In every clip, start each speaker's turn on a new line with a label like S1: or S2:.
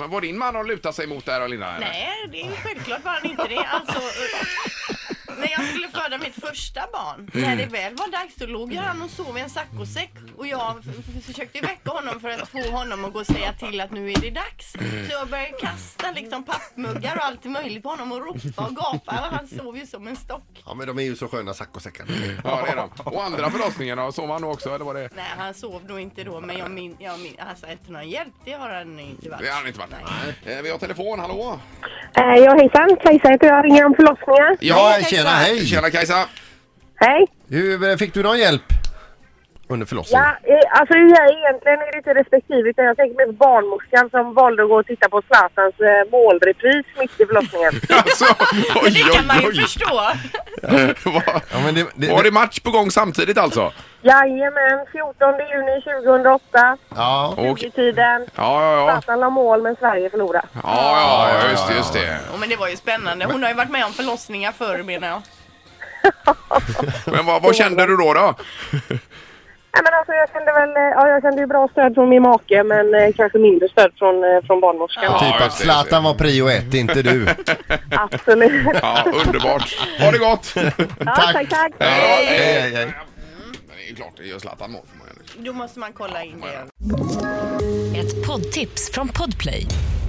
S1: Men var din man har lutat sig mot det här Alina? eller?
S2: Nej, det är ju självklart var han inte det. Alltså, eh, när jag skulle föda mitt första barn, när det väl var dags, då låg ju han och sov i en saccosäck. Och jag f- f- försökte väcka honom för att få honom att gå och säga till att nu är det dags. Så jag började kasta liksom pappmuggar och allt möjligt på honom och ropa och gapa. Och han sov ju som en stock.
S3: Ja, men de är ju så sköna saccosäckar.
S1: Ja, det är de. Och andra förlossningen då? Sov han då också eller var det?
S2: Nej, han sov nog inte då, men jag min, jag min, alltså, efter någon hjälp, det har han inte varit.
S1: Det har han inte varit. Eh, Vi har telefon, hallå?
S4: Eh, ja, hejsan. Kajsa heter jag. Ringer om förlossningar.
S3: Ja, tjena, hej!
S1: Tjena Kajsa!
S4: Hej.
S3: Hur, eh, fick du någon hjälp under förlossningen?
S4: Ja, eh, alltså jag är egentligen är det inte respektive utan jag tänker mer på barnmorskan som valde att gå och titta på Zlatans eh, målrepris mitt i förlossningen.
S1: Alltså,
S2: Men
S1: oj,
S2: det kan man
S1: oj,
S2: ju
S1: oj.
S2: förstå.
S1: Var-
S3: Ja, men det, det,
S1: Var det match på gång samtidigt alltså?
S4: Jajamän, 14 juni 2008,
S3: ja.
S1: Och,
S4: i tiden.
S1: ja, ja, ja.
S4: Zlatan la mål men Sverige förlorade.
S1: Ja, ja, just det, just det.
S2: Ja, men det var ju spännande. Hon har ju varit med om förlossningar förr menar jag.
S1: Men vad, vad kände du då? då?
S4: Nej, men alltså, jag kände väl, eh, ja, jag kände ju bra stöd från min make men eh, kanske mindre stöd från, eh, från barnmorskan.
S1: Ja,
S3: Typ
S1: just det,
S3: att
S1: just det.
S3: Zlatan var prio ett, inte du.
S4: Absolut.
S1: Ja, underbart. Ha det gott!
S4: Ja,
S3: Tack.
S4: tack, tack.
S1: Hej,
S3: Hej, hej, hej.
S1: Men det är ju klart, det gör Zlatan mål för många.
S2: Då måste man kolla in det.
S5: Ett poddtips från Podplay.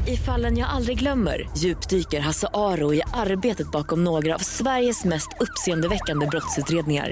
S5: I fallen jag aldrig glömmer djupdyker Hasse Aro i arbetet bakom några av Sveriges mest uppseendeväckande brottsutredningar.